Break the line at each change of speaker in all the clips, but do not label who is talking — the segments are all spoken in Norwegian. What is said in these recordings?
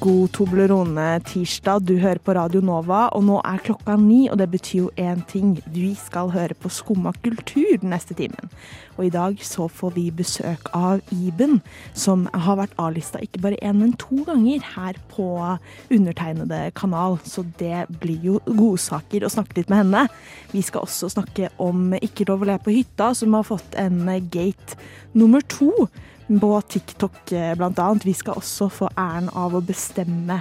God Toblerone tirsdag. Du hører på Radio Nova, og nå er klokka ni, og det betyr jo én ting. Vi skal høre på Skumma kultur den neste timen. Og i dag så får vi besøk av Iben, som har vært A-lista ikke bare én, men to ganger her på undertegnede kanal, så det blir jo godsaker å snakke litt med henne. Vi skal også snakke om Ikke lov å le på hytta, som har fått en gate nummer to på TikTok eh, blant annet. Vi skal også få æren av å bestemme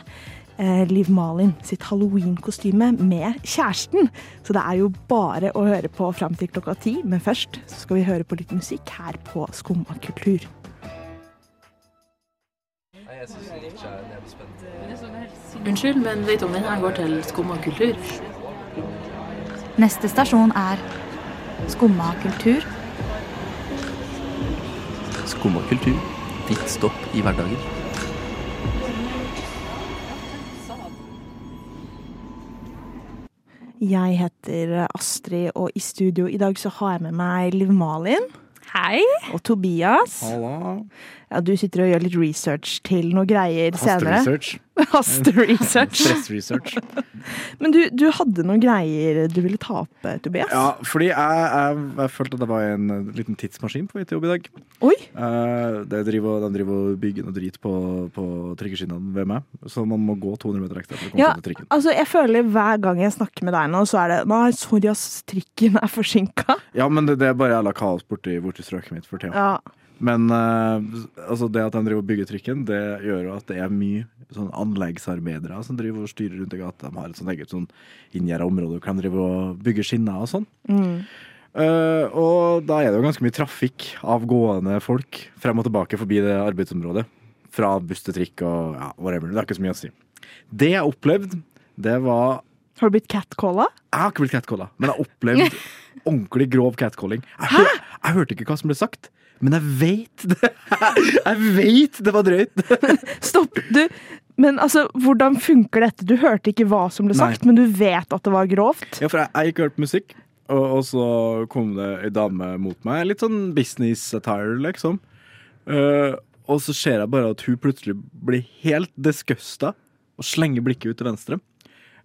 eh, Liv Malin sitt Halloween-kostyme med kjæresten. Så det er jo bare å høre på fram til klokka ti, men først så skal vi høre på litt musikk her på Skumma kultur.
Unnskyld, men vet du om denne går til skum og kultur?
Neste stasjon er Skumma kultur.
Skum og kultur. Ditt stopp i hverdagen.
Jeg heter Astrid, og i studio i dag så har jeg med meg Liv Malin.
Hei!
Og Tobias. Ja, du sitter og gjør litt research til noe greier senere.
Hasteresearch.
Hasteresearch.
Stressresearch.
Men du, du hadde noen greier du ville ta opp, eh, Tobias.
Ja, fordi jeg, jeg, jeg følte at jeg var i en eh, liten tidsmaskin på vei til jobb i dag.
Oi!
Eh, det driver, de driver og bygger noe drit på, på trikkeskinnene ved meg, så man må gå 200 meter ekstra for å komme
Ja,
til trikken.
altså jeg føler hver gang jeg snakker med deg nå, så er det Nei, sorry, ass, trikken er forsinka.
Ja, men det, det er bare jævla kaos borti, borti strøket mitt for tida.
Ja.
Men eh, altså det at de driver og bygger trikken, det gjør jo at det er mye sånn anleggsarbeidere som driver og styrer rundt i gata. De har et sånt eget sånn inngjerda område hvor de driver og bygger skinner og sånn. Eh, og da er det jo ganske mye trafikk av gående folk frem og tilbake forbi det arbeidsområdet. Fra buss til trikk og ja, whatever. Det er ikke så mye å si. Det jeg opplevde, det var
Har du blitt catcalla?
jeg har ikke blitt catcalla, men jeg har opplevd ordentlig grov catcalling. Jeg, hør, jeg hørte ikke hva som ble sagt, men jeg veit det. Jeg veit det var drøyt.
Stopp! Du, men altså, hvordan funker dette? Du hørte ikke hva som ble
Nei.
sagt, men du vet at det var grovt?
Ja, for jeg, jeg gikk og hørte på musikk, og, og så kom det ei dame mot meg. Litt sånn business attire, liksom. Eh, og så ser jeg bare at hun plutselig blir helt disgusta og slenger blikket ut til venstre.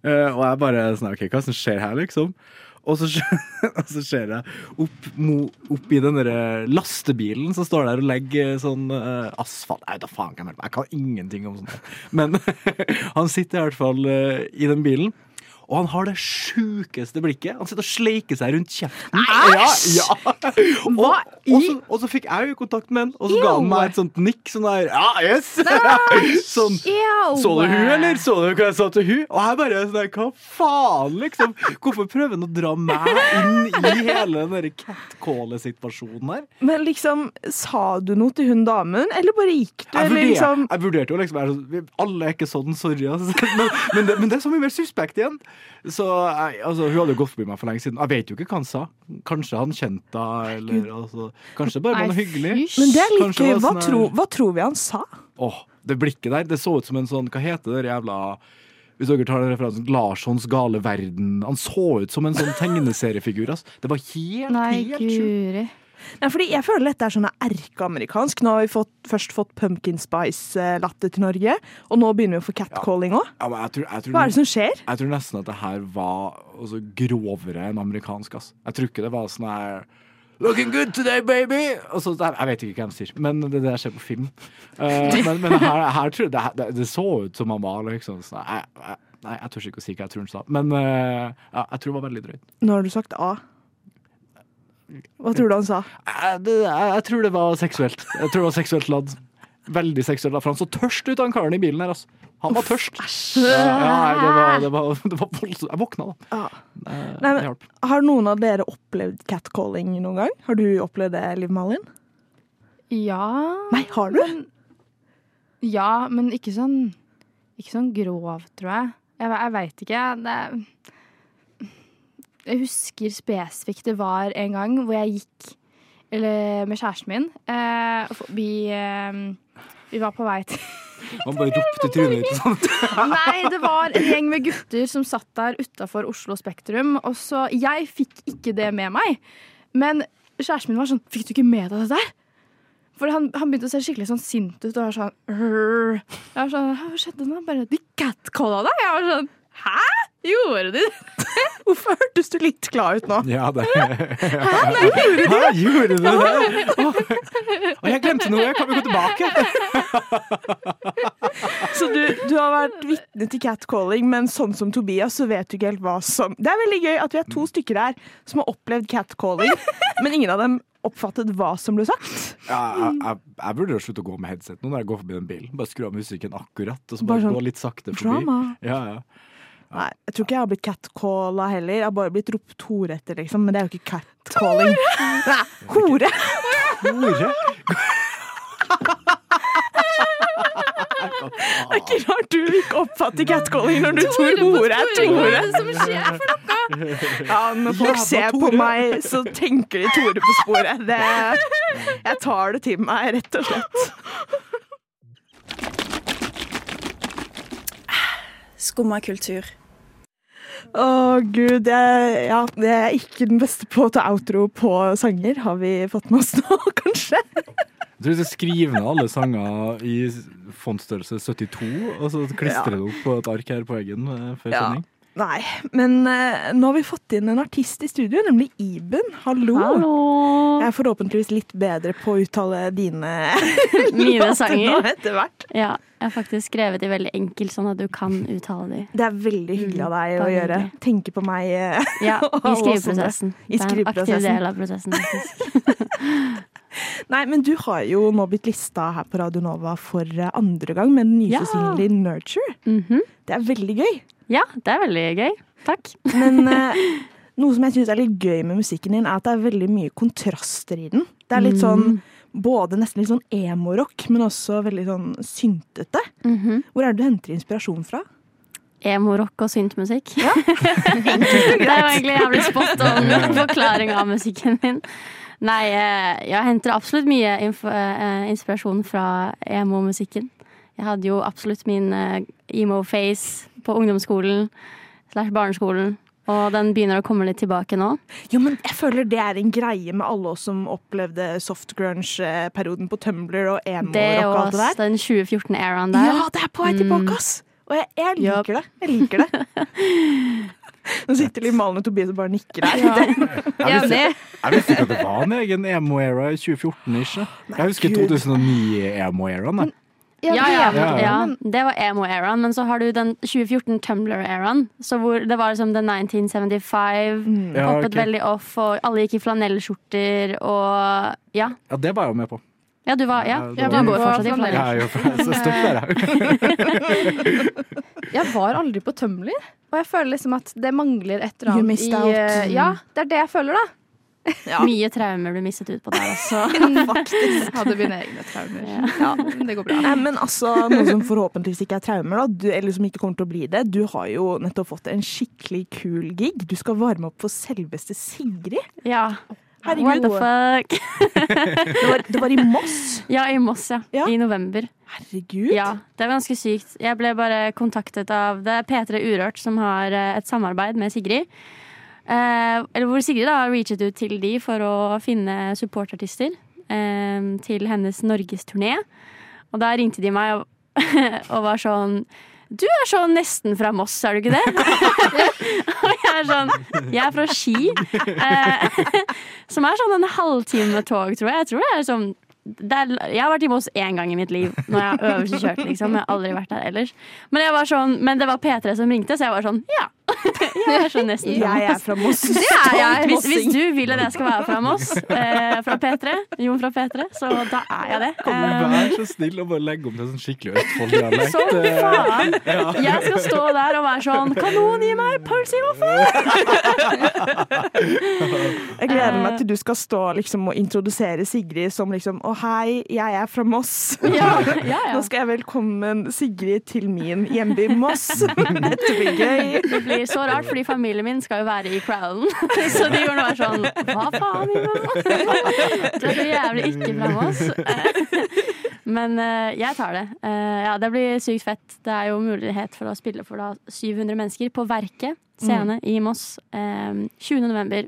Eh, og jeg bare sånn OK, hva som skjer her, liksom? Og så, skj- og så ser jeg opp, mo, opp i den derre lastebilen som står der og legger sånn eh, asfalt Jeg vet da faen hva jeg melder meg, jeg kan ingenting om sånt. Men han sitter i hvert fall eh, i den bilen. Og han har det sjukeste blikket. Han sitter og sleiker seg rundt kjeften. Ja, ja. Og, og, så, og så fikk jeg jo kontakt med han, og så ga han meg et sånt nikk. Sånn der, ja, yes! sånn, så du
eh.
hun, eller? Så du hva jeg sa til hun? Og jeg bare sånn der, hva faen, liksom? Hvorfor prøver han å dra meg inn i hele den der catcall-situasjonen her?
Men liksom, sa du noe til hun damen, eller bare gikk du?
Jeg
Eller
vurderte,
liksom
jeg vurderte jo liksom jeg er sånn, vi- Alle er ikke sånn, sorry. Altså. Men, men, det, men det er så mye mer suspekt igjen. Så jeg, altså, Hun hadde jo gått forbi meg for lenge siden. Jeg vet jo ikke hva han sa. Kanskje han kjente henne, eller altså, Kanskje det bare var noe hyggelig.
Men det er litt
Kanskje
gøy.
det
Hva,
var sånn her-
tro, hva tror vi han sa?
Åh, det blikket der, det så ut som en sånn, hva heter det der jævla Hvis dere tar den referansen, Larssons gale verden. Han så ut som en sånn tegneseriefigur, ass. Det var helt,
Nei,
helt sjukt.
guri.
Nei, fordi jeg føler dette er sånn erkeamerikansk. Nå har vi fått, først fått pumpkin spice-latte til Norge, og nå begynner vi å få catcalling òg.
Ja, men jeg tror, jeg tror,
Hva er det som skjer?
Jeg tror nesten at det her var altså, grovere enn amerikansk, ass. Jeg tror ikke det var sånn her Looking good today, baby! Og så, der- jeg vet ikke hva de sier, men det der skjer på film. Eh, men men her, her tror jeg det, det, det så ut som han var liksom sånn jeg, jeg, Nei, jeg tør ikke å si hva jeg tror han sa, men eh, ja, jeg tror det var veldig drøyt.
Nå har du sagt A. Hva tror du han sa?
Eh, det, jeg, jeg tror det var seksuelt. Jeg tror det var seksuelt ladd. Veldig seksuelt ladd. For han så tørst ut, han karen i bilen her. Altså. Han var tørst. Ja, ja, nei, det var, det var, det var voldsomt. Jeg våkna, da.
Nei,
det
men,
hjalp.
har noen av dere opplevd catcalling noen gang? Har du opplevd det, Liv Malin?
Ja,
Ah,
Nei, har du?
ja men ikke sånn, ikke sånn grov, tror jeg. Jeg, ve- jeg veit ikke. Det, jeg husker spesifikt det var en gang hvor jeg gikk eller, med kjæresten min eh, forbi eh, Vi var på vei til
Han bare ropte trynet ditt sånn.
Nei, det var en gjeng med gutter som satt der utafor Oslo Spektrum. Og så Jeg fikk ikke det med meg. Men kjæresten min var sånn Fikk du ikke med deg det der? For han, han begynte å se skikkelig sånn sint ut og var sånn «Rrr». Jeg var sånn Hva skjedde nå? Han Bare De catcalla deg! Jeg var sånn Hæ? Gjorde de det?
Hvorfor hørtes du litt glad ut nå?
Ja, det Hæ, gjorde du det? Å, Å, jeg glemte noe, jeg kommer jo tilbake.
Så du, du har vært vitne til catcalling, men sånn som Tobias, så vet du ikke helt hva som Det er veldig gøy at vi er to stykker her som har opplevd catcalling, men ingen av dem oppfattet hva som ble sagt.
Ja, jeg, jeg, jeg burde jo slutte å gå med headset nå når jeg går forbi den bilen. Bare skru av musikken akkurat, og så
Bare
bare,
sånn
gå litt sakte forbi.
Drama.
Ja, ja.
Nei, jeg tror ikke jeg har blitt catcalla heller. Jeg har bare blitt ropt hore etter, liksom, men det er jo ikke catcalling. Nei, hore!
Tore!
Det er ikke rart du ikke oppfatter catcalling når du tror hore er
Hva
Tore.
er det som skjer for noe?
Ja, når folk ser på meg, så tenker de Tore på sporet. Det, jeg tar det til meg, rett og slett.
Skumma kultur.
Å gud, jeg, ja, jeg er ikke den beste på å ta outro på sanger, har vi fått med oss nå, kanskje?
Jeg tror du skal skrive ned alle sanger i fontstørrelse 72, og så klistre det opp på et ark her på veggen eh, før
Ja.
sending.
Nei, men eh, nå har vi fått inn en artist i studio, nemlig Iben. Hallo! Jeg er forhåpentligvis litt bedre på å uttale dine
Mine
nå
sanger.
etter hvert.
Ja, jeg har faktisk skrevet de veldig enkelt, sånn at du kan uttale de.
Det er veldig
Mm,
hyggelig av deg å
Bare
gjøre.
hyggelig.
Tenke på meg. eh.
Ja,
Og
I
alle
skriveprosessen.
I
Det er en aktiv
skriveprosessen.
del av prosessen, faktisk.
Nei, men du har jo nå blitt lista her på Radio Nova for eh, andre gang med den nye
Ja.
singelen din 'Nurture'.
Mhm.
Det er veldig gøy.
Ja, det er veldig gøy. Takk.
Men eh, noe som jeg syns er litt gøy med musikken din, er at det er veldig mye kontraster i den. Det er litt sånn både nesten litt sånn emo-rock, men også veldig sånn syntete.
Mhm.
Hvor er det du henter inspirasjon fra?
Emo-rock og syntmusikk. det er jo egentlig jævlig spot on forklaring av musikken min. Nei, eh, jeg henter absolutt mye inf eh, inspirasjon fra emo-musikken. Jeg hadde jo absolutt min eh, emo-face på ungdomsskolen slash barneskolen. Og den begynner å komme litt tilbake nå.
Jo, men jeg føler det er en greie med alle oss som opplevde soft grunge-perioden på Tumblr og
Det
emo-rock og alt
og
det sånn der.
den 2014-æraen der.
Ja, det er på vei tilbake, ass! Og jeg, jeg liker det. Jeg liker det. Nå sitter Liv Malen og Tobias og bare nikker her.
Jeg visste, jeg visste ikke at det var en egen emo-era i 2014-ish. Jeg husker
Gud.
2009-emo-eraen.
Mm,
jeg.
Ja,
Ja, ja,
det er-
ja.
ja, det var emo-æraen. Men så har du den 2014 Tumblr-æraen. Så hvor det var liksom The 1975.
Ja,
Hoppet
ok.
veldig off, og alle gikk i flanellskjorter og Ja.
ja, det var jeg jo med på.
Ja, du var Ja,
Ja, det
du
var-
går fortsatt i
flanell.
Jeg
flanellskjorter.
er jo fra så stopp der, jeg.
Jeg var aldri på Tumblr, og jeg føler liksom at det mangler et eller
You
annet
missed
i,
out.
eh, Ja, det er det jeg føler, da.
Ja.
Mye traumer du mistet ut på der, altså.
Faktisk. Hadde mine egne traumer. Ja, det går bra.
Nei, men altså, noe som forhåpentligvis ikke er traumer, da, du, eller som ikke kommer til å bli det. Du har jo nettopp fått en skikkelig kul gig. Du skal varme opp for selveste Sigrid.
Ja. What
Herregud,
the fuck?
det var, det var i Moss.
Ja, i Moss, ja.
Ja.
I november.
Herregud.
Ja, det var ganske sykt. Jeg ble bare kontaktet av det er P3 Urørt som har eh, et samarbeid med Sigrid. Eh, eller hvor Sigrid da har reachet ut til de for å finne supportartister eh, til hennes norgesturné. Og da ringte de meg og, og var sånn Du er sånn nesten fra Moss, er du ikke det? og jeg er sånn Jeg er fra Ski. Eh, som er sånn en halvtime med tog, tror jeg. Jeg tror det er sånn det er, jeg har vært i Moss én gang i mitt liv når jeg har øvelseskjørt. Liksom. Jeg har aldri vært der ellers. Men, jeg var sånn, men det var P3 som ringte, så jeg var sånn ja. Jeg er sånn nesten fra
Jeg er
Moss.
fra Moss. Det
Ja, ja. Hvis, hvis du vil at jeg skal være fra Moss, eh, fra P3, Jon fra P3, så da er jeg det.
Kan du
Eh,
være så snill og bare legge om til sånn skikkelig Østfold-dialekt?
så Eh, faen! Jeg skal stå der og være sånn Kan noen gi meg pølse i vaffel?
Jeg gleder meg til du skal stå liksom, og introdusere Sigrid som liksom Å, hei, jeg er fra Moss.
Ja, ja, ja.
Nå skal jeg velkommen Sigrid til min hjemby Moss. Dette blir gøy.
Det blir så rart, fordi familien min skal jo være i crowden. Så de kommer til å være sånn Hva faen, Ivan? Du er så jævlig ikke fra Moss. Men eh, jeg tar det. Eh, ja, det blir sykt fett. Det er jo mulighet for å spille for da 700 mennesker på Verket scene i Moss. Eh, 20. november.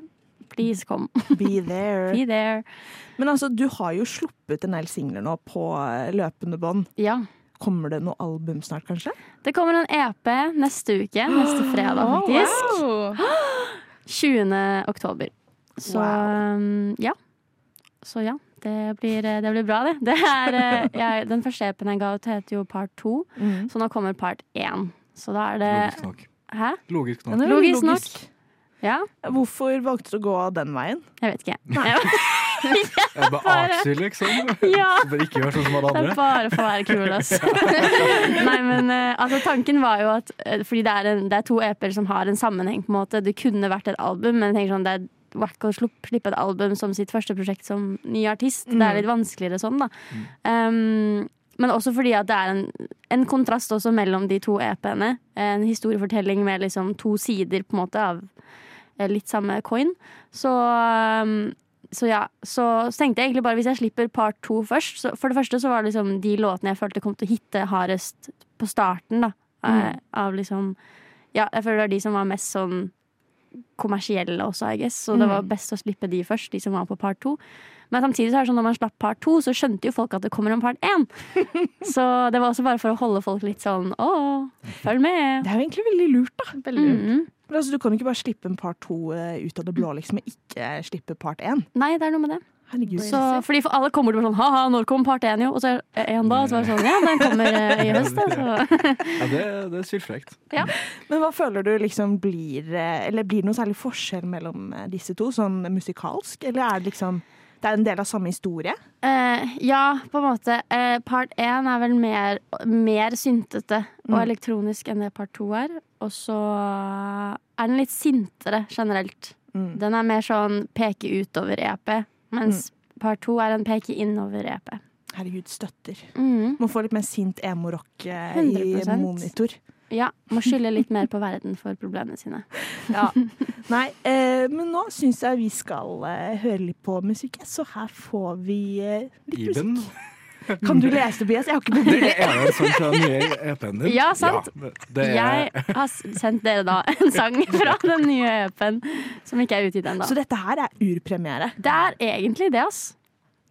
Please, kom.
Be there.
Be there.
Men altså, du har jo sluppet en del singler nå på eh, løpende bånd.
Ja.
Kommer det noe album snart, kanskje?
Det kommer en EP neste uke, neste fredag
Oh,
faktisk. 20. oktober. Så um, ja. Så ja. Det blir, det blir bra, det. det er, eh, jeg, den første EP-en jeg ga ut, heter jo Part 2.
Mm.
Så nå kommer Part 1. Så da er det
Logisk nok.
Hæ?
Logisk
Den
nok.
er jo
Logisk nok. Ja,
Hvorfor valgte du å gå den veien?
jeg vet ikke.
Jeg er bare artig, liksom.
Ja.
Bare ikke gjør sånn som alle
Det er
andre.
bare for å være kul, ass. Nei, men eh, altså, tanken var jo at eh, Fordi det er, en, det er to EP-er som har en sammenheng, på en måte. Det kunne vært et album, men jeg tenker sånn, det er wack å slupp- slippe et album som sitt første prosjekt som ny artist. Det er litt vanskeligere sånn, da. Um, men også fordi at det er en, en kontrast også mellom de to EP-ene. En historiefortelling med liksom to sider på en måte av eh, litt samme coin. Så um, så ja, så, så tenkte jeg egentlig bare hvis jeg slipper part to først så For det første så var det liksom de låtene jeg følte kom til å hitte hardest på starten, da. eh, Av liksom Ja, jeg føler det var de som var mest sånn kommersielle også, I guess. Så det var best å slippe de først, de som var på part to. Men samtidig så er det sånn når man slapp part to, så skjønte jo folk at det kommer en part én. så det var også bare for å holde folk litt sånn å, følg med.
Det er jo egentlig veldig lurt, da.
Mhm.
Men altså, du kan jo ikke bare slippe en part to eh, ut av det blå, liksom, og ikke slippe part én.
Nei, det er noe med det.
Herregud.
Så, fordi for alle kommer til å være sånn Ha-ha, når kom part én, jo? Og så er én da, og så er det sånn Ja, den kommer eh, i høst, da. Så.
Ja, det, det er sylfrekt.
Men hva føler du liksom blir eh, Eller blir det noe særlig forskjell mellom eh, disse to, sånn musikalsk? Eller er det liksom Det er en del av samme historie?
Eh, ja, på en måte. Eh, part én er vel mer, mer syntete og elektronisk enn det part to er. Og så er den litt sintere generelt. Den er mer sånn peke utover-EP, mens part to er en peke innover-EP.
Herregud, støtter.
Mm.
Må få litt mer sint emo-rock eh, i
100%.
monitor.
Ja, må skylde litt mer på verden for problemene sine.
Nei, eh, men nå syns jeg vi skal eh, høre litt på musikk, jeg, så her får vi eh, litt
Iben.
musikk. Kan du lese, Tobias? Jeg har ikke mobil.
Det er vel sånn fra den nye EP-en din?
Ja, sant.
Ja, det er,
Jeg har s- sendt dere da en sang fra den nye EP-en, som ikke er utgitt ennå.
Så dette her er urpremiere.
Det er egentlig det, ass.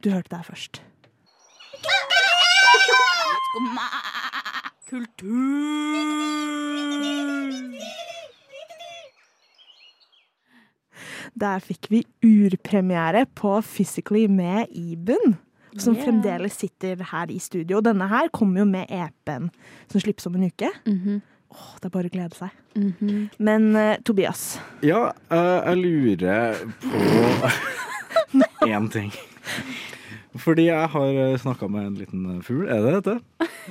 Du hørte det her først.
Skumma
Der fikk vi urpremiere på Physically med Iben. Som
Yeah.
fremdeles sitter her i studio. Denne her kommer jo med EP-en som slippes om en uke. Mm-hmm. Åh, det er bare å glede seg. Men eh, Tobias,
Ja, eh, jeg lurer på én ting. Fordi jeg har snakka med en liten eh, fugl, er det dette?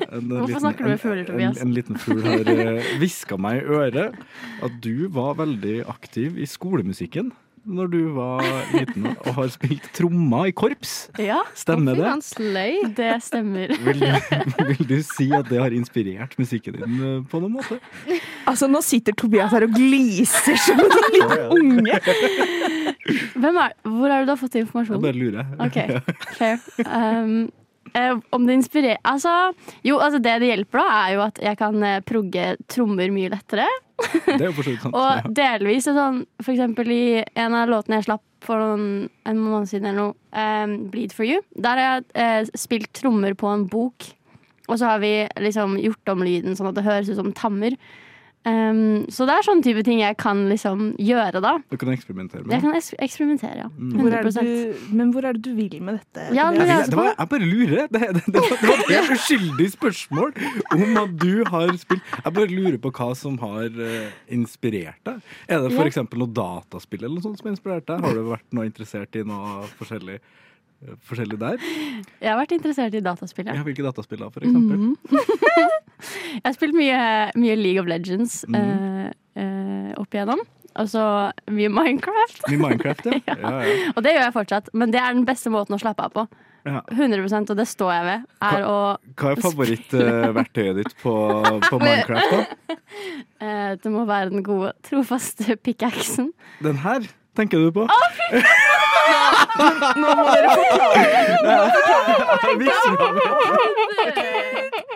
En eh,
Hvorfor
liten-
snakker du med fugler, Tobias?
En, en, en liten fugl har hviska meg i øret at du var veldig aktiv i skolemusikken når du var liten og har spilt trommer i korps.
Ja,
Stemmer Sånn det?
Han sløy.
det stemmer.
Vil du, vil du si at det har inspirert musikken din eh, på noen måte?
altså nå sitter Tobias her og gliser som en liten unge.
Hvem er, hvor er det du har fått
Jeg
informasjonen?
bare lurer.
Ok, fair. Um, eh, om det inspirerer Altså, jo, altså det det hjelper da, er jo at jeg kan eh, progge trommer mye lettere.
Det er jo for så vidt sant.
Og delvis er sånn, for eksempel i en av låtene jeg slapp for noen, en måned siden eller noe, ehm, Bleed for you, der har jeg eh, spilt trommer på en bok. Og så har vi liksom gjort om lyden sånn at det høres ut som tammer. Ehm, så det er sånn type ting jeg kan liksom gjøre da.
Du kan eksperimentere med
Jeg kan eks- eksperimentere, ja.
Hvor er
100
det du, men hvor er det du vil med dette?
Ja,
Tobias?
men
Jeg, vil- det
altså, jeg-
var, jeg bare lurer. Det, det, det, var, det var et helt uskyldig spørsmål om at du har spilt Jeg bare lurer på hva som har eh, inspirert deg. Er det
Ja.
f.eks. noe dataspill eller noe sånt som har inspirert deg? Har du vært noe interessert i noe forskjellig, eh, forskjellig der?
Jeg har vært interessert i dataspill, ja.
Ja, hvilke dataspill da, for eksempel?
Jeg har spilt mye, mye League of Legends eh, eh, opp igjennom. Og så mye Minecraft.
Mye Minecraft, ja. ja. ja,
Og det gjør jeg fortsatt, men det er den beste måten å slappe av på.
ja.
100 og det står jeg ved, er å
Hva er favorittverktøyet ditt på, på Minecraft, da?
eh, Det må være den gode, trofaste pickaxen.
Den her tenker du på?
Nå må dere forklare.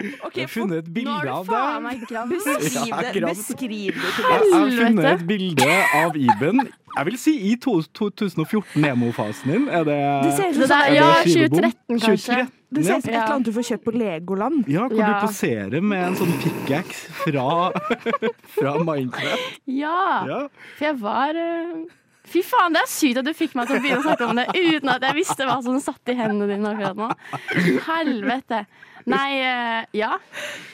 Jeg har funnet et bilde av
Faen
deg.
meg gravid.
Beskriv
Ja,
det.
akkurat.
Beskriv det til
Jeg
oss.
har funnet
Helvete.
et bilde av Iben. Jeg vil si i to- 2014-nemofasen din. Er det
Det ser ut som
Det der,
sånn-
ja,
Er det skivebom?
2013 kanskje.
2013,
det ser ut som et
Ja.
eller annet du får kjøpt på Legoland.
Ja, hvor
Ja.
du poserer med en sånn pickaxe fra, fra Minecraft.
Ja,
Ja.
for jeg var eh, Fy faen, det er sykt at du fikk meg til å begynne å snakke om det uten at jeg visste hva som satt i hendene dine akkurat nå. Helvete. Nei, eh, ja.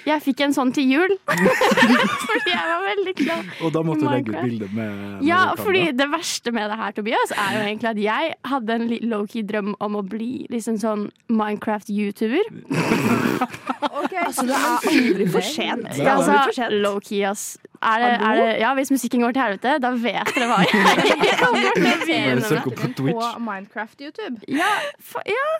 Jeg fikk en sånn til jul. Fordi jeg var veldig glad.
Og da måtte du legge ut
Minecraft.
bilde med med
Ja,
kamera.
fordi det verste med det her, Tobias, er jo egentlig at jeg hadde en li- low-key drøm om å bli liksom sånn Minecraft-YouTuber.
Altså, det er aldri for sent. Det er
Ja,
aldri for
altså,
sent.
low-key, ass. Er det, er det, ja, hvis musikken går til helvete, da vet dere hva jeg kommer til å
Bare
begynne
søk
med.
opp på
På
Twitch.
Minecraft-YouTube.
Ja, fa- ja,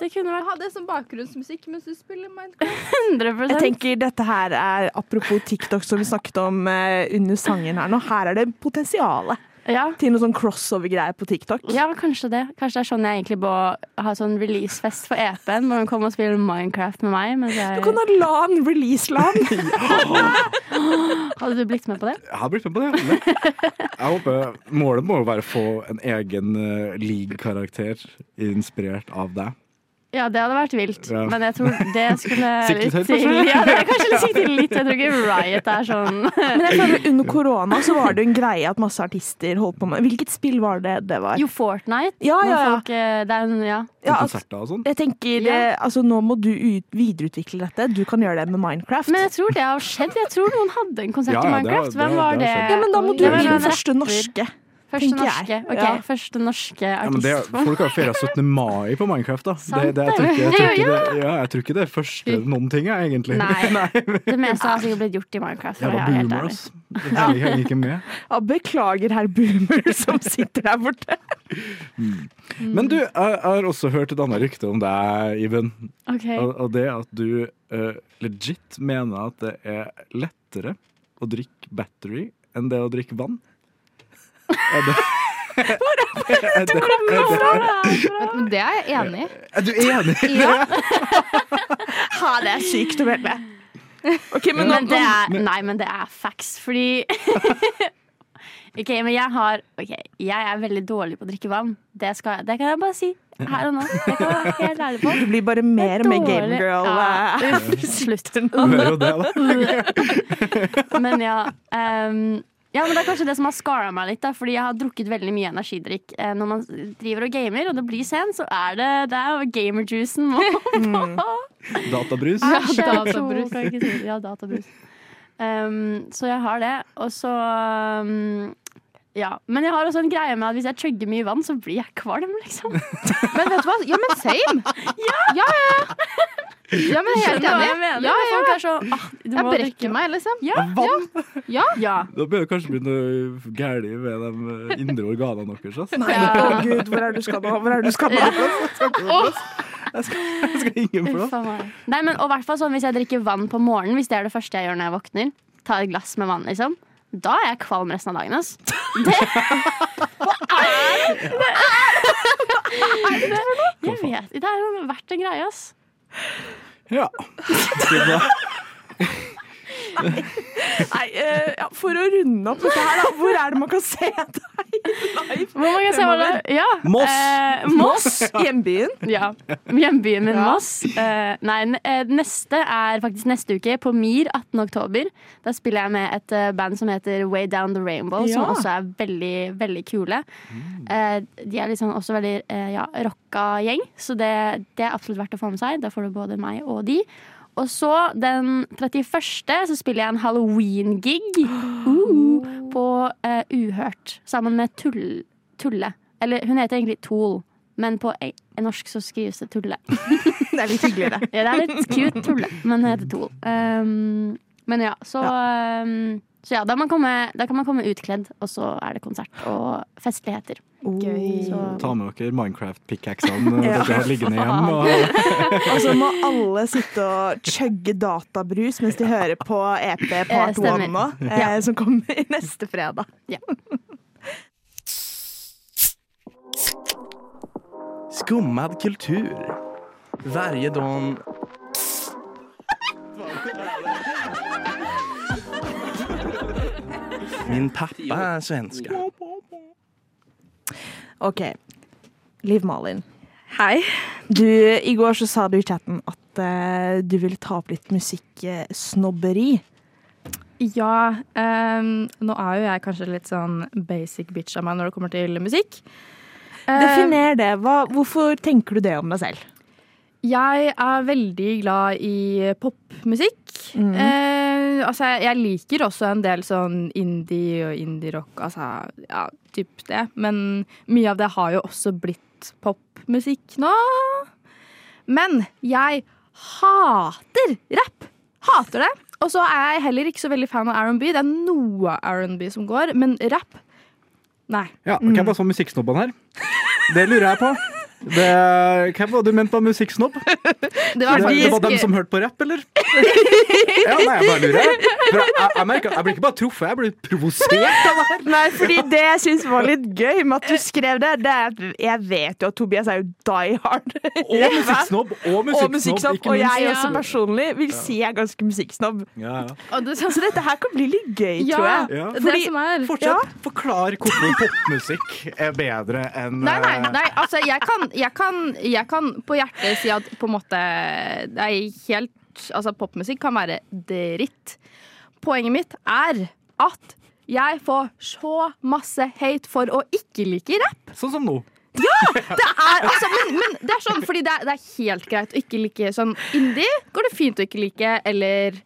det kunne vært
Ha det som sånn bakgrunnsmusikk mens du spiller Minecraft.
100
Jeg tenker dette her er Apropos TikTok som vi snakket om eh, under sangen her nå. Her er det potensialet
ja.
til noe sånn crossover-greier på TikTok.
ja, kanskje det. Kanskje det er sånn jeg egentlig bør ha sånn releasefest for EP-en. Må hun komme og spille Minecraft med meg. Mens
Du kan
jeg...
ha LAN, release-LAN.
Hadde du blitt med på det?
Jeg har blitt med på det. men Jeg håper, Målet må jo være å få en egen uh, league-karakter inspirert av deg.
Ja, det hadde vært vilt.
Ja.
Men jeg tror det skulle
Sikte litt høyt,
til.
kanskje?
Ja, det er kanskje litt sikte litt. Jeg tror ikke Riot er sånn
Men jeg føler under korona så var det jo en greie at masse artister holdt på med Hvilket spill var det det var?
Jo, Fortnite.
Ja, ja,
når
ja.
Folk, eh, det er jo en- ja.
Ja, altså,
konserter og sånn.
jeg tenker, eh, altså Nå må du ut, videreutvikle dette. Du kan gjøre det med Minecraft.
Men jeg tror det har skjedd. Jeg tror noen hadde en
Ja,
konsert i
ja, det har-
Minecraft.
det har-
Hvem var
det
det?
har skjedd.
ja, men da må
Oi.
du
Det
bli
var
den
en
første
rapper.
norske.
Første
tenker jeg.
norske. Ok,
Ja.
første norske
Ja, men
artist.
det, folk har jo feira 17. mai på Minecraft, da.
Sant
Det, det, jeg, tror
det.
ikke, jeg, tror ikke
Ja,
det, ja, jeg tror ikke det er første noen ting, jeg, egentlig.
Nei. Det meste har sikkert blitt gjort i Minecraft. for å
Jævla
være helt
boomer,
ærlig.
ass. Jeg henger ikke med.
Ja, beklager, herr Boomer, som sitter der borte.
Mm.
Men du, jeg jeg har også hørt et annet rykte om deg, Iben. Og,
Ok.
og det at du eh, legit mener at det er lettere å drikke battery enn det å drikke vann. Er det er det- er
Men det er jeg enig i.
det- Er du enig?
Ha, det er sykt å melde. Ok, men nå,
Men det er, nei, men det er facts, fordi Ok, men jeg har Ok, jeg er veldig dårlig på å drikke vann. Det, skal, jeg- det kan jeg bare si her og nå. Det kan jeg være helt ærlig på.
du blir bare mer og mer
Dårlig.
gamegirl.
Ja,
eh.
uff, Slutt.
Du hører jo det, da.
Men ja. ehm, ja, men Det er kanskje det som har skara meg litt. Da, fordi jeg har drukket veldig mye energidrikk. Eh, Når man driver og gamer, og det blir sent, så er det, det er jo gamerjuicen må
Databrus.
Ah,
Kanskje
databrus.
to, kan jeg ikke si. Ja, databrus. Um, så jeg har det. Og så um, Ja. Men jeg har også en greie med at hvis jeg chugger mye vann, så blir jeg kvalm, liksom.
Men vet du hva? Ja, men same! Ja, ja, ja. ja men helt
Skjønner du hva
enig.
jeg mener?
Ja, ja.
Folk er så, ah, du
Jeg
må drikke
brekker meg, liksom.
Ja,
Vann.
ja.
Da begynner det kanskje å bli noe galt ved de eh, indre organene deres. altså. ass.
Nei, å gud, hvor er det du skal nå? Hvor er det du skal nå?
Jeg skal ingen for
Uff a meg. Nei, men og hvert fall sånn Hvis jeg drikker vann på morgenen, hvis det er det første jeg gjør når jeg våkner, ta et glass med vann, liksom, da er jeg kvalm resten av dagen. Ass. Det, Hva er det? Hva er det? for noe? Jeg vet ikke. Det har jo vært en greie, ass.
Ja. Så da-
Nei, eh, ja, for å runde opp dette her, da. Hvor er det man kan se deg live?
Hvor mange ser man
Fremover.
det? Ja.
Moss.
Eh, Moss.
Hjembyen.
Ja. Hjembyen min, Moss. Eh, nei, n- eh, neste er faktisk neste uke, på Mir 18. oktober. Da spiller jeg med et eh, band som heter Way Down The Rainbow, som
Ja.
også er veldig, veldig kule. Eh, de er liksom også veldig eh, ja, rocka gjeng, så det, det er absolutt verdt å få med seg. Da får du både meg og de. Og så den 31. så spiller jeg en halloween-gig uh, på eh, Uhørt sammen med Tull, Tulle. Eller hun heter egentlig Tool, men på e- norsk så skrives det Tulle.
Det er litt hyggeligere.
Ja, det er litt cute Tulle, men hun heter Tool. Um, men ja, så um, så ja, da, man komme, da kan man komme utkledd, og så er det konsert og festligheter. Så,
Ta med dere Minecraft-pickaxene
Ja.
dere har liggende hjem. Og
Og så må alle sitte og chugge databrus mens de hører på EP
Eh,
Part 1
stemmer.
nå, eh, som kommer neste fredag.
Skummad kultur. Varje dag... Min pappa er svenska.
OK. Liv Malin.
Hei.
Du, I går så sa du i chatten at eh, du ville ta opp litt musikksnobberi.
Ja, ehm, nå er jo jeg kanskje litt sånn basic bitch av meg når det kommer til musikk. Eh,
Definer det. Hva, hvorfor tenker du det om deg selv?
jeg er veldig glad i popmusikk. Eh, altså, jeg, jeg liker også en del sånn indie og indie-rock, altså ja, typ det. Men mye av det har jo også blitt popmusikk nå. Men jeg hater rapp. Hater det. Og så er jeg heller ikke så veldig fan av R&B. Det er noe R&B som går, men rapp Nei.
Ja, ok, Hva så musikksnobben her? Det lurer jeg på. Det, hva var det du mente av musikksnobb?
Det var,
Det, det var dem
faktisk-
som hørte på rapp, eller? Ja, nei, jeg bare lurer. For jeg, jeg, jeg, merker, jeg blir ikke bare truffet, jeg blir provosert av det her.
Nei, fordi det jeg syns var litt gøy med at du skrev det, det er at jeg vet jo at Tobias er jo die hard.
Og musikksnobb, og
Og
musikksnobb,
musikksnobb.
ikke
Og jeg
minst.
også personlig vil si jeg er ganske musikksnobb.
Ja, ja.
Og det,
Så dette her kan bli litt gøy,
ja,
tror jeg.
Ja.
det
Fordi-
som er
Ja.
Fortsett. Forklar hvorfor popmusikk er bedre enn
Nei, nei,
eh,
nei, altså jeg kan, jeg, kan, jeg kan på hjertet si at på en måte Det er helt Altså popmusikk kan være dritt. Poenget mitt er at jeg får så masse hate for å ikke like rapp.
Sånn som nå.
Det er, altså, men, men det er sånn, fordi det er, det er helt greit å ikke like sånn indie. Går det fint å ikke like, eller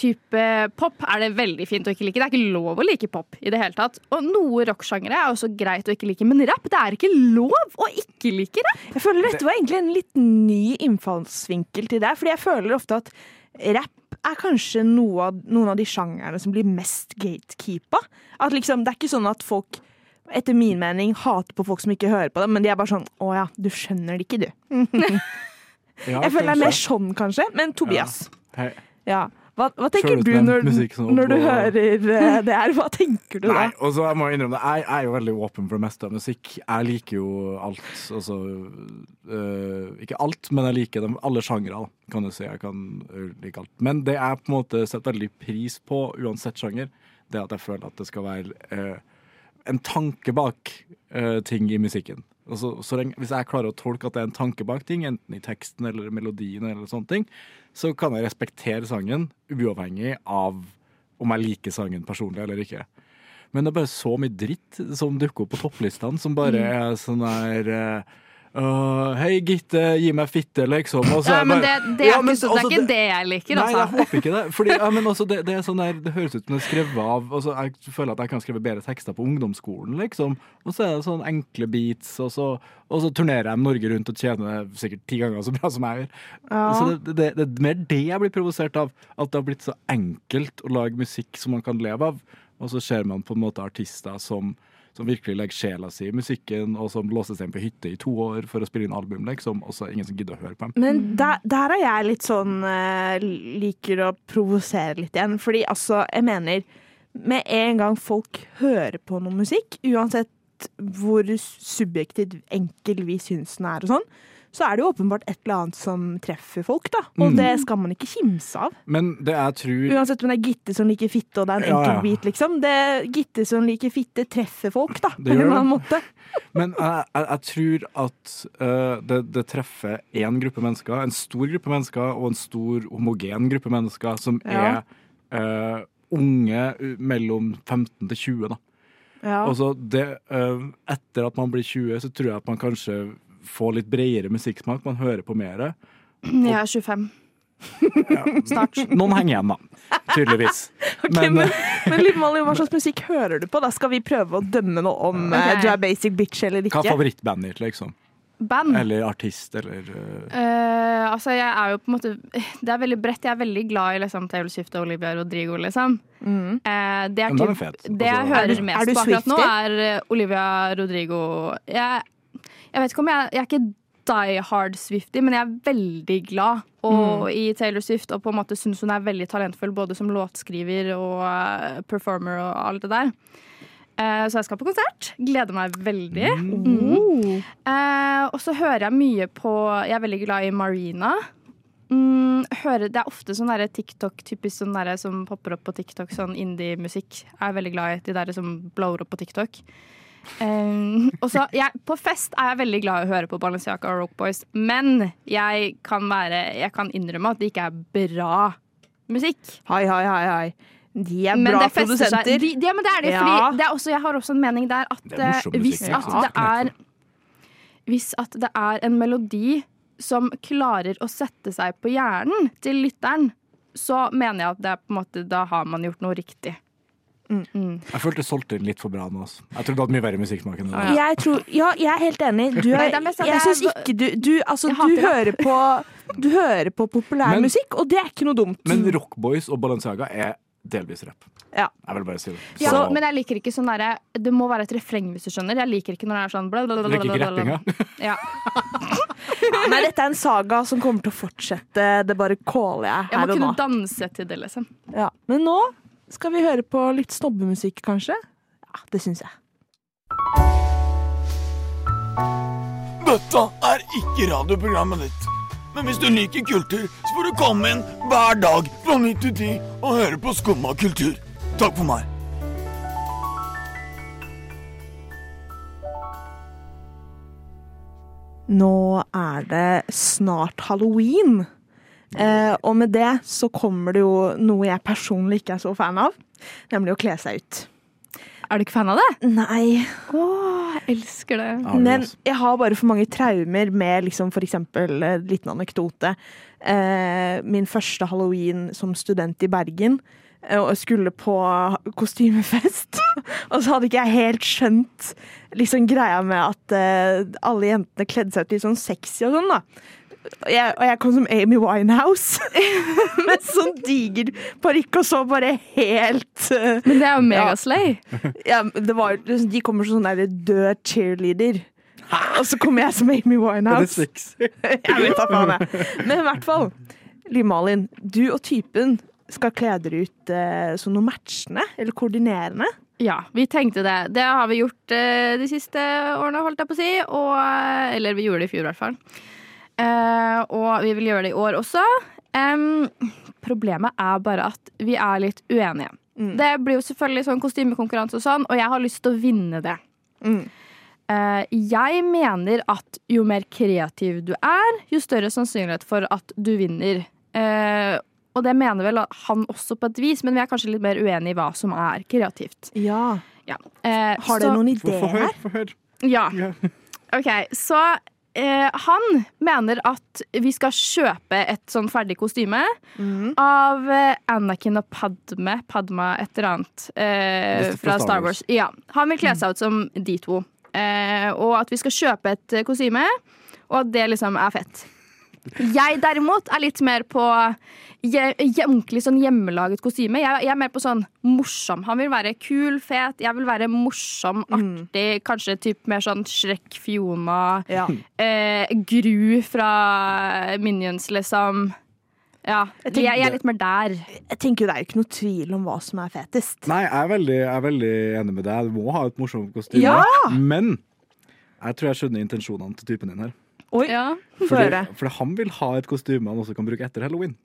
type pop er det veldig fint å ikke like. Det er ikke lov å like pop i det hele tatt. Og noe rocksjangere er også greit å ikke like, men rapp, det er ikke lov å ikke like rapp.
Jeg føler dette var egentlig en litt ny innfallsvinkel til deg, fordi jeg føler ofte at rapp er kanskje noe av, noen av de sjangerne som blir mest gatekeepa. At liksom, det er ikke sånn at folk, etter min mening, hater på folk som ikke hører på dem, men de er bare sånn Å ja, du skjønner det ikke, du.
Ja,
Jeg føler det er mer
kanskje.
sånn, kanskje. Men Tobias.
Hei.
Ja. Hva, hva tenker
Sjølutnevnt
du når,
musikksnobb
når du
og-
hører eh, det her? Hva tenker du da?
Nei, og så jeg må innrømme det. Jeg, jeg er jo veldig åpen for det meste av musikk. Jeg liker jo alt. Altså øh, Ikke alt, men jeg liker dem, alle sjangere, da, kan du si. Jeg kan øh, like alt. Men det jeg på en måte setter veldig pris på, uansett sjanger, det er at jeg føler at det skal være øh, en tanke bak øh, ting i musikken. Altså, så lenge, hvis jeg klarer å tolke at det er en tanke bak ting, enten i teksten eller melodien, eller sånne ting, så kan jeg respektere sangen uavhengig av om jeg liker sangen personlig eller ikke. Men det er bare så mye dritt som dukker opp på topplistene, som bare
Mm.
er sånn der eh, «Åh, Hei, Gitte, gi meg fitte, liksom. Og så
Ja,
er
men det,
bare-
det, er,
Ja, men
ikke, så- det
altså,
er ikke det jeg liker,
Nei, jeg
altså.
håper ikke det. Fordi, ja, men altså, det, det, er sånn der, det høres ut som det er skrevet av altså, Jeg føler at jeg kan skrive bedre tekster på ungdomsskolen, liksom. Og så er det sånn enkle beats, og så, og så turnerer jeg Norge rundt og tjener sikkert ti ganger så bra som jeg gjør. Så det, det, det er mer det jeg blir provosert av. At det har blitt så enkelt å lage musikk som man kan leve av. Og så ser man på en måte artister som som virkelig legger sjela si i musikken, og som låses inn på hytte i to år for å spille inn album, liksom, og så er det ingen som gidder å høre på dem.
Men der, der er jeg litt sånn eh, Liker å provosere litt igjen. Fordi altså, jeg mener Med en gang folk hører på noe musikk, uansett hvor subjektivt enkel vi syns den er og sånn, så er det jo åpenbart et eller annet som treffer folk, da.
Mm.
Og det skal man ikke kimse av.
Men det jeg tror
Uansett om det er Gitte som liker fitte, og det er en
Mm. Ja,
enkel
ja.
bit, liksom. Det, Gitte som liker fitte, treffer folk, da. På
Det
en
gjør
eller annen måte.
Men jeg, jeg, jeg tror at eh, det, det treffer én gruppe mennesker, en stor gruppe mennesker, og en stor homogen gruppe mennesker, som
Ja.
er eh, unge u- mellom 15 til 20. Da.
Ja.
Og så det, eh, etter at man blir 20, så tror jeg at man kanskje får litt bredere musikksmak, man hører på mer.
Jeg er 25.
Snart. Noen henger igjen, da. Tydeligvis.
Men,
Men,
men,
eh,
Liv Malin, hva slags musikk hører du på? Da skal vi prøve å dømme noe om eh,
Ok.
du er basic bitch eller
hva
ikke.
er favorittbandet ditt, liksom?
Band.
Eller artist, eller eh,
Eh, altså, jeg er jo på en måte Det er veldig bredt. Jeg er veldig glad i liksom, Taylor Swift og Olivia Rodrigo, liksom. Eh, det er
Men den er
typ,
fet.
det jeg
Altså-
hører
Er du-
mest
er du
på akkurat nå,
Swiftie?
er eh, Olivia Rodrigo. Jeg, jeg vet ikke om jeg Jeg er ikke die hard Swifty, men jeg er veldig glad
Mm.
og, i Taylor Swift og på en måte syns hun er veldig talentfull både som låtskriver og eh, performer og alt det der. Eh, Så jeg skal på konsert. Gleder meg veldig. Mm. Eh, Og så hører jeg mye på Jeg er veldig glad i Marina. Mm, hører, det er ofte sånn derre TikTok typisk sånn derre som popper opp på TikTok, sånn indie-musikk. Jeg er veldig glad i de derre som blower opp på TikTok. Eh, og så jeg, På fest er jeg veldig glad i å høre på Balenciaga og Roke Boys, men jeg kan, være, jeg kan innrømme at det ikke er bra musikk.
Hei, hei, hei, hei. De er
Men
bra
det fester seg-
produsenter.
De, ja, men det er det,
Ja.
fordi det er også, jeg har også en mening der at
er morsom
eh,
musikk,
hvis
jeg
at
synes.
det er Hvis at det er en melodi som klarer å sette seg på hjernen til lytteren, så mener jeg at det er på en måte, da har man gjort noe riktig. Mm.
Jeg følte du solgte den litt for bra nå. ass. Jeg trodde du hadde mye verre musikksmak enn det. der.
Jeg tror, ja, jeg er helt enig. Du
Nei,
er,
det er mest at
jeg
jeg-
syns ikke du Du, altså,
Jeg
du hører
hater
på Du hører på populær
Men-
musikk, og det er ikke noe dumt.
Men
Mm.
Rock Boys og Balenciaga er delvis rapp.
Ja.
Jeg vil bare si det.
Ja,
Så-
men jeg liker ikke sånn derre Det må være et refreng, hvis du skjønner. Jeg liker ikke når det er sånn bla, bla,
Du
bla,
liker
bla,
ikke
bla, bla.
rappinga?
Ja.
Nei, dette er en saga som kommer til å fortsette. Det bare caller jeg
Jeg må
her og nå.
kunne danse til det, liksom.
Ja. Men nå skal vi høre på litt snobbemusikk, kanskje. Ja, det syns jeg.
Dette er ikke radioprogrammet ditt. Men hvis du liker kultur, så får du komme inn hver dag fra 9 til 10 og høre på Skumma kultur. Takk for meg.
Nå er det snart halloween. Eh, og med det så kommer det jo noe jeg personlig ikke er så fan av, nemlig å kle seg ut.
Er du ikke fan av det?
Nei.
Åh, jeg elsker det.
Men jeg har bare for mange traumer med liksom for eksempel eh, liten anekdote. Eh, min første halloween som student i Bergen. eh, Og jeg skulle på kostymefest. og så hadde ikke jeg helt skjønt liksom greia med at eh, alle jentene kledde seg ut litt sånn sexy og sånn, da. Og jeg, og jeg kom som Amy Winehouse med sånn diger parykk og så bare helt eh,
Men det er jo megaslay.
ja, men det var, de kommer som sånn der død cheerleader. Og så kommer jeg som Amy Winehouse. Jeg vet da faen, jeg. Men i hvert fall, Liv Malin, du og typen skal kle dere ut eh, som noe matchende eller koordinerende.
Ja, vi tenkte det. Det har vi gjort eh, de siste årene, holdt jeg på å si. Og, eh, eller vi gjorde det i fjor, i hvert fall. Eh, og vi vil gjøre det i år også. Em, problemet er bare at vi er litt uenige. Det blir jo selvfølgelig sånn kostymekonkurranse og sånn, og jeg har lyst til å vinne det. Eh, jeg mener at jo mer kreativ du er, jo større sannsynlighet for at du vinner. Eh, og det mener vel han også på et vis, men vi er kanskje litt mer uenige i hva som er kreativt.
Ja.
Ja. Eh,
Har dere
så-
noen
Få-
ideer
Få høre.
her?
Få høre.
Ja.
Ja.
Ok, så eh, han mener at vi skal kjøpe et sånn ferdig kostyme
Mhm.
av eh, Anakin og Padme, Padma et eller annet, eh,
Det er
fra Star Wars. Ja. Han vil
Mhm.
kle seg ut som de to. Eh, og at vi skal kjøpe et eh, kostyme, og at det liksom er fett. Jeg derimot er litt mer på hje- hje- ordentlig sånn hjemmelaget kostyme. Jeg, jeg er mer på sånn morsom. Han vil være kul, fet. Jeg vil være morsom, artig. Kanskje typ mer sånn Shrek, Fiona,
Ja.
eh, Gru fra Minions, liksom. Ja. Jeg,
tenker-
jeg er litt mer der.
Jeg tenker jo Det er jo ikke noe tvil om hva som er fetest.
Nei, jeg er, veldig, jeg er veldig enig med deg. Du må ha et morsomt kostyme.
Ja!
Men jeg tror jeg skjønner intensjonene til typen din her.
Oi,
Ja.
få høre.
for han vil ha et kostyme han også kan bruke etter halloween.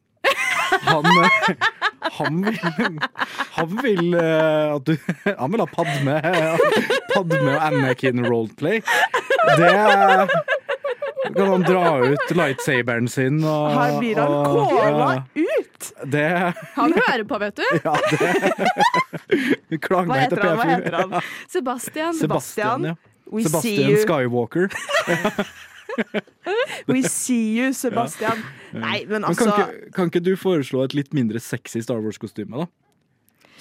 Han, eh, han vil, han vil eh, at du Han vil ha Padme, Padme og Anakin roleplay. Det er- kan han dra ut lightsaberen sin og
Her blir han
og-
kåla
ja,
ut!
Det
Han hører på, vet du.
Ja, det Klag
Hva
meg til
heter han? Hva
P4.
heter han?
Sebastian.
Sebastian,
ja.
We see
Sebastian
you,
Skywalker.
we see you, Sebastian. Nei, men
Men
altså
kan, ikke, kan ikke du foreslå et litt mindre sexy Star Wars-kostyme, da?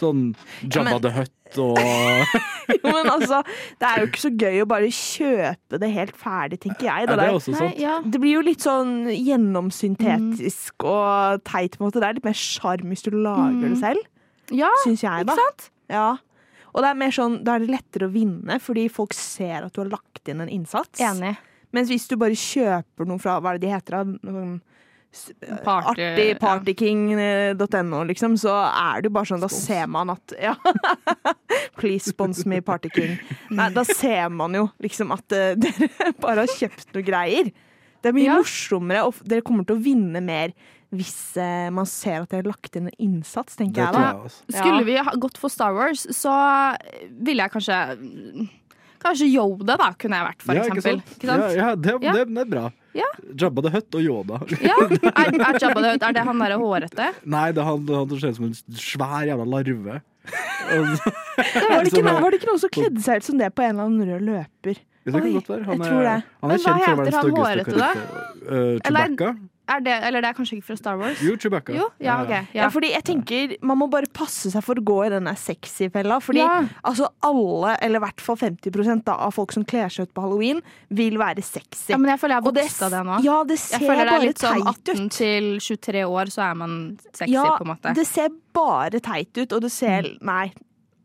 Sånn Jabba
men-
the Hutt og
Jo, men altså, det er jo ikke så gøy å bare kjøpe det helt ferdig, tenker jeg.
Ja,
Det,
det er
der.
også sant.
ja.
det blir jo litt sånn
Mm.
gjennomsyntetisk og teit på en måte. Det er litt mer sjarm hvis du lager det selv,
ja.
syns jeg, da.
Mm. Ikke sant?
Ja. Og det er mer sånn, da er det lettere å vinne, fordi folk ser at du har lagt inn en innsats.
Enig.
Mens hvis du bare kjøper noe fra hva er det de heter, da? Noen s-
Party-
artig partyking.no, liksom, så er det jo bare sånn, da ser man at ja. Please sponsor me, partyking. Nei, da ser man jo liksom at eh, dere bare har kjøpt noe greier. Det er mye morsommere, og f- dere kommer til å vinne mer hvis eh, man ser at dere har lagt inn en innsats, tenker
Det
jeg
tror
da.
jeg også. Skulle vi ha gått for Star Wars, så ville jeg kanskje Kanskje Yoda, da, kunne jeg vært, for
ja, ikke
eksempel.
sant?
Ikke sant?
Ja, ja, det,
Ja.
Det, det er bra.
Ja.
Jabba the Hutt og Yoda.
Er, er Jabba the Hutt, er det han derre hårete?
Nei, det er han, han som ser ut som en svær jævla larve. Og så-
Var det, ikke,
som
no-
er-
var det ikke noen som kledde seg ut som det på en eller annen rød løper?
Ja, det kan
Oi,
godt være. Han
jeg
er,
tror det.
han er
Men hva
kjent for å være
heter
den
han
styggeste
hårete, da?
karakteren. Eh,
Eller-
Chewbacca?
Er det, eller det er kanskje ikke fra Star Wars?
Jo, Chewbacca.
Jo, ja, ok.
Ja. fordi jeg tenker Man må bare passe seg for å gå i den der sexy-fella. Fordi
Ja.
altså alle, eller i hvert fall 50 da, av folk som kler seg ut på halloween, vil være sexy.
Ja, men jeg føler jeg har
Og det
vokst av det
s-
nå.
Ja, det
jeg
ser
føler det er
bare
litt sånn
teit
18 til 23 år, så er man sexy,
Ja,
på en måte. Mm.
det ser bare teit ut, og det ser Nei.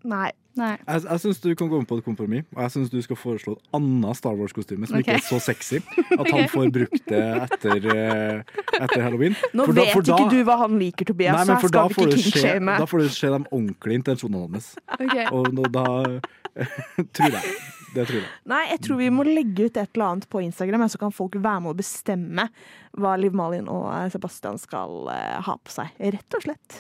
Nei.
Jeg, jeg syns du kan gå med på et kompromiss, og jeg syns du skal foreslå et annet Star Wars-kostyme som
Ok.
ikke er så sexy. At han
Ok.
får brukt det etter, eh, etter halloween.
Nå
For da-
vet
for da-
ikke du hva han liker, Tobias,
Nei,
så
men
her
for da
skal vi
får
ikke
det skje,
kinkshame.
da får det skje de ordentlige intensjonene hans.
Ok.
Og nå- da tror jeg. Det tror jeg.
Nei, jeg tror vi må legge ut et eller annet på Instagram, så kan folk være med å bestemme hva Liv Malin og Sebastian skal eh, ha på seg. Rett og slett.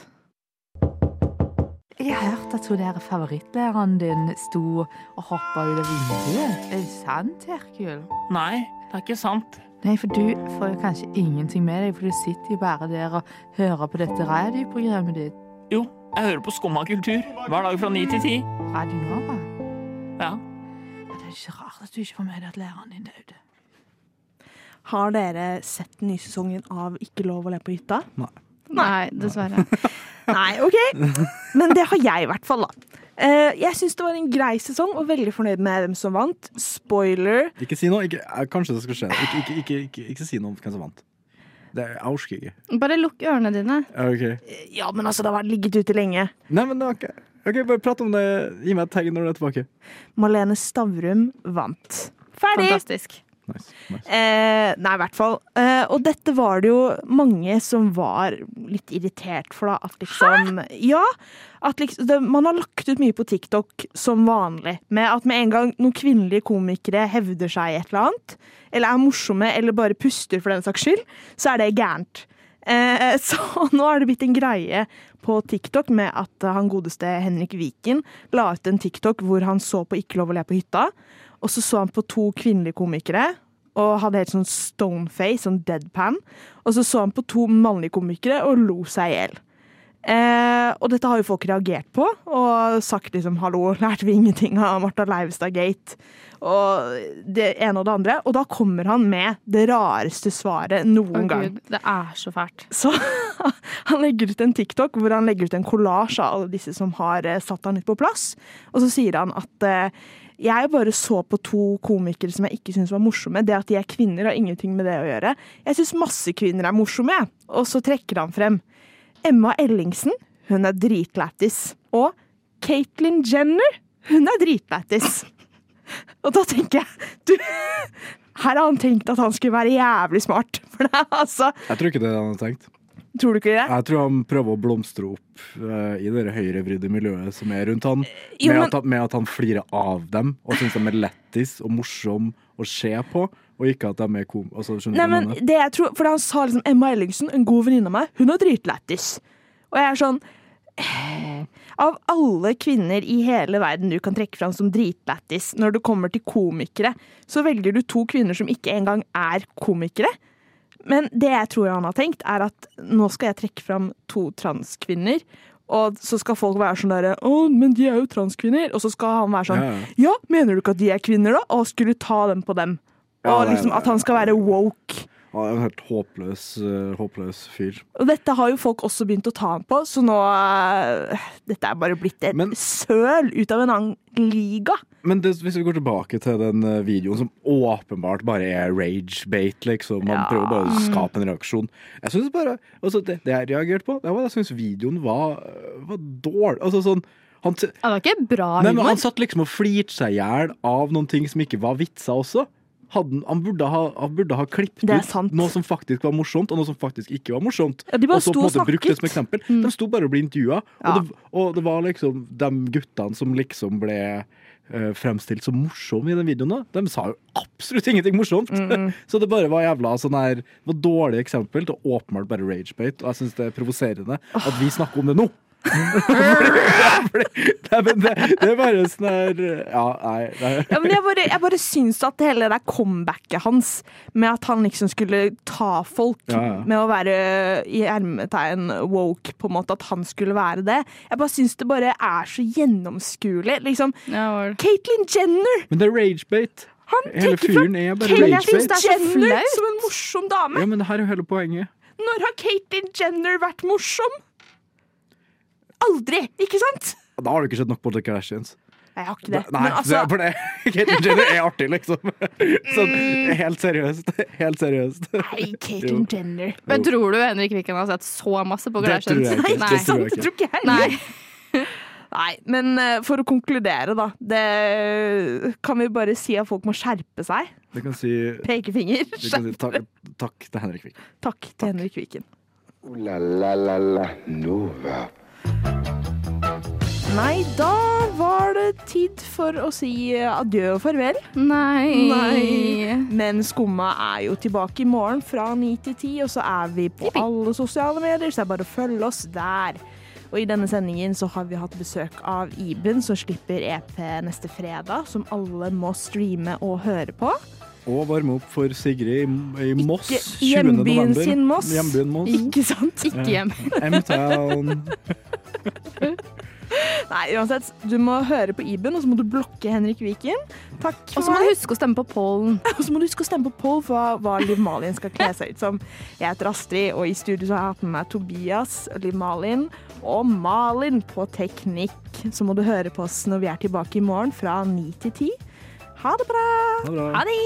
Jeg har hørt at hun der favorittlæreren din sto og hoppa ut av vinduet. Er det sant, Herkul?
Nei, det er ikke sant.
Nei, for du får jo kanskje ingenting med deg, for du sitter jo bare der og hører på dette radioprogrammet ditt.
Jo, jeg hører på Skumma kultur hver dag fra ni til ti.
Radio Nova.
Ja.
Det er ikke rart at du ikke får med deg at læreren din døde.
Har dere sett den nye sesongen av Ikke lov å le på hytta?
Nei.
Nei, dessverre.
Nei, OK. Men det har jeg i hvert fall, da. Eh, Jeg syns det var en grei sesong, og veldig fornøyd med hvem som vant. Spoiler.
Ikke si noe. Ikke, eh, kanskje det skal skje. Ikke, ikke, ikke, ikke, ikke si noe om hvem som vant. Det er jeg orker ikke.
Bare lukk ørene dine.
Ok.
Ja, men altså, det har vært ligget ute lenge.
Nei, men det var ikke OK, bare prat om det. Gi meg et tegn når du er tilbake.
Malene Stavrum vant. Ferdig!
Fantastisk.
Eh, nei, i hvert fall. Eh, og dette var det jo mange som var litt irritert for, da. At liksom Ja! At liksom, det, man har lagt ut mye på TikTok som vanlig. Med at med en gang noen kvinnelige komikere hevder seg i et eller annet, eller er morsomme, eller bare puster for den saks skyld, så er det gærent. Eh, så nå er det blitt en greie på TikTok med at han godeste Henrik Viken la ut en TikTok hvor han så på Ikke lov å le på hytta, og så så han på to kvinnelige komikere. Og hadde helt sånn stoneface, sånn deadpan. Og så så han på to mannlige komikere og lo seg i hjel. Eh, og dette har jo folk reagert på, og sagt liksom 'hallo, lærte vi ingenting av Martha Leivestad Gate'? Og det ene og det andre. Og da kommer han med det rareste svaret noen
Å,
gang.
Gud, det er så fælt.
Så han legger ut en TikTok hvor han legger ut en kollasj av alle disse som har eh, satt han litt på plass. Og så sier han at eh, jeg bare så på to komikere som jeg ikke syns var morsomme. Det at de er kvinner har ingenting med det å gjøre. Jeg syns masse kvinner er morsomme, jeg. Og så trekker han frem Emma Ellingsen. Hun er dritlættis. Og Caitlyn Jenner. Hun er dritlættis. Og da tenker jeg du, Her har han tenkt at han skulle være jævlig smart. For det er altså
Jeg tror ikke det er det han har tenkt.
Tror du ikke det?
Jeg tror han prøver å blomstre opp eh, i det høyrevridde miljøet som er rundt han.
Eh, Jo,
med,
men-
at, han- med at han flirer av dem og syns de er lættis og morsom å se på, og ikke at de er kom... Altså, skjønner
Nei,
du hva jeg
men
mener?
det jeg tror, for Han sa liksom Emma Ellingsen, en god venninne av meg, hun er dritlættis. Og jeg er sånn eh, Av alle kvinner i hele verden du kan trekke fram som dritlættis når det kommer til komikere, så velger du to kvinner som ikke engang er komikere. Men det jeg tror han har tenkt, er at nå skal jeg trekke fram to transkvinner. Og så skal folk være sånn derre 'Å, men de er jo transkvinner.' Og så skal han være sånn
Ja,
'Ja, mener du ikke at de er kvinner, da?' Og skulle ta dem på dem.
Ja,
Og
det er-
liksom at han skal være woke.
Han er en helt håpløs, eh, håpløs fyr.
Og dette har jo folk også begynt å ta ham på, så nå eh, Dette er bare blitt et søl ut av en annen liga.
Men det, hvis vi går tilbake til den eh, videoen som åpenbart bare er rage-bait, liksom. Man prøver bare å
Mm.
skape en reaksjon. Jeg synes bare, altså det, det jeg reagerte på, det var at jeg syns videoen var, eh, var dårlig. Altså sånn han, t-
Ja, det var ikke bra
nei, men
humor.
han satt liksom og flirte seg i hjel av noen ting som ikke var vitser også. hadde, han burde ha, han burde ha klippet
Det er
ut
sant.
noe som faktisk var morsomt, og noe som faktisk ikke var morsomt.
Ja, de bare
og så
sto
på en måte
og
brukt det som
snakket.
eksempel. De sto bare og ble intervjua,
Ja.
og, det- og det var liksom de guttene som liksom ble eh, fremstilt som morsomme i den videoen, da. de sa jo absolutt ingenting morsomt! så det bare var jævla sånn her Det var dårlig eksempel til åpenbart bare ragebate, og jeg syns det er provoserende at vi snakker om det nå! Nei, men det, det er bare sånn her Ja, nei. nei.
Ja, men jeg bare, jeg bare syns at hele det der comebacket hans, med at han liksom skulle ta folk
Ja, ja.
med å være i ermetegn woke, på en måte, at han skulle være det Jeg bare syns det bare er så gjennomskuelig. Liksom, Caitlyn Jenner!
Men det er ragebait.
Han
Hele
trekker
fyren
fram
er bare
Caitlyn
ragebait.
Jenner som en morsom dame!
Ja, men det her er jo hele poenget.
Når har Caitlyn Jenner vært morsom? Aldri, ikke sant?
Da har du ikke sett nok på The Kardashians.
Nei, Jeg har ikke
Nei,
det. Men
det
altså,
er for det. Caitlyn Jenner er artig, liksom. Sånn helt seriøst. Helt seriøst.
Nei,
Jo.
Caitlyn Jenner.
Men tror du Henrik Viken har sett så masse på
Det tror jeg
Kardashians?
ikke.
Nei.
Det tror jeg ikke.
ikke jeg heller. Nei, men eh, for å konkludere, da. Det kan vi bare si at folk må skjerpe seg.
Vi kan si,
Pekefinger.
vi kan si takk, takk til Henrik Vik.
Takk til Henrik Viken.
Ooh la la la la Nova.
Nei, da var det tid for å si adjø og farvel.
Nei.
Men Skumma er jo tilbake i morgen fra ni til ti, og så er vi på alle sosiale medier, så det er bare å følge oss der. Og i denne sendingen så har vi hatt besøk av Iben, som slipper EP neste fredag, som alle må streame og høre på.
Og varme opp for Sigrid i, i Moss.
Ikke
20.
hjembyen
november.
sin Moss.
Hjembyen Moss.
Ikke sant?
Ikke hjem. M-Town.
Nei, uansett, du må høre på Iben, og så må du blokke Henrik Viken. Takk for
Og så må
meg.
du huske å stemme på pollen.
Og så må du huske å stemme på Pål for hva, hva Liv Malin skal kle seg ut som. Jeg heter Astrid, og i studio så har jeg hatt med meg Tobias, Liv Malin og Malin på teknikk. Så må du høre på oss når vi er tilbake i morgen fra ni til ti. Ha det bra!
Ha det bra.
Ha det!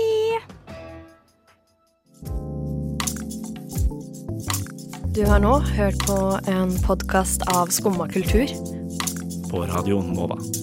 Du har nå hørt på en podkast av Skumma kultur.
På radioen Nova.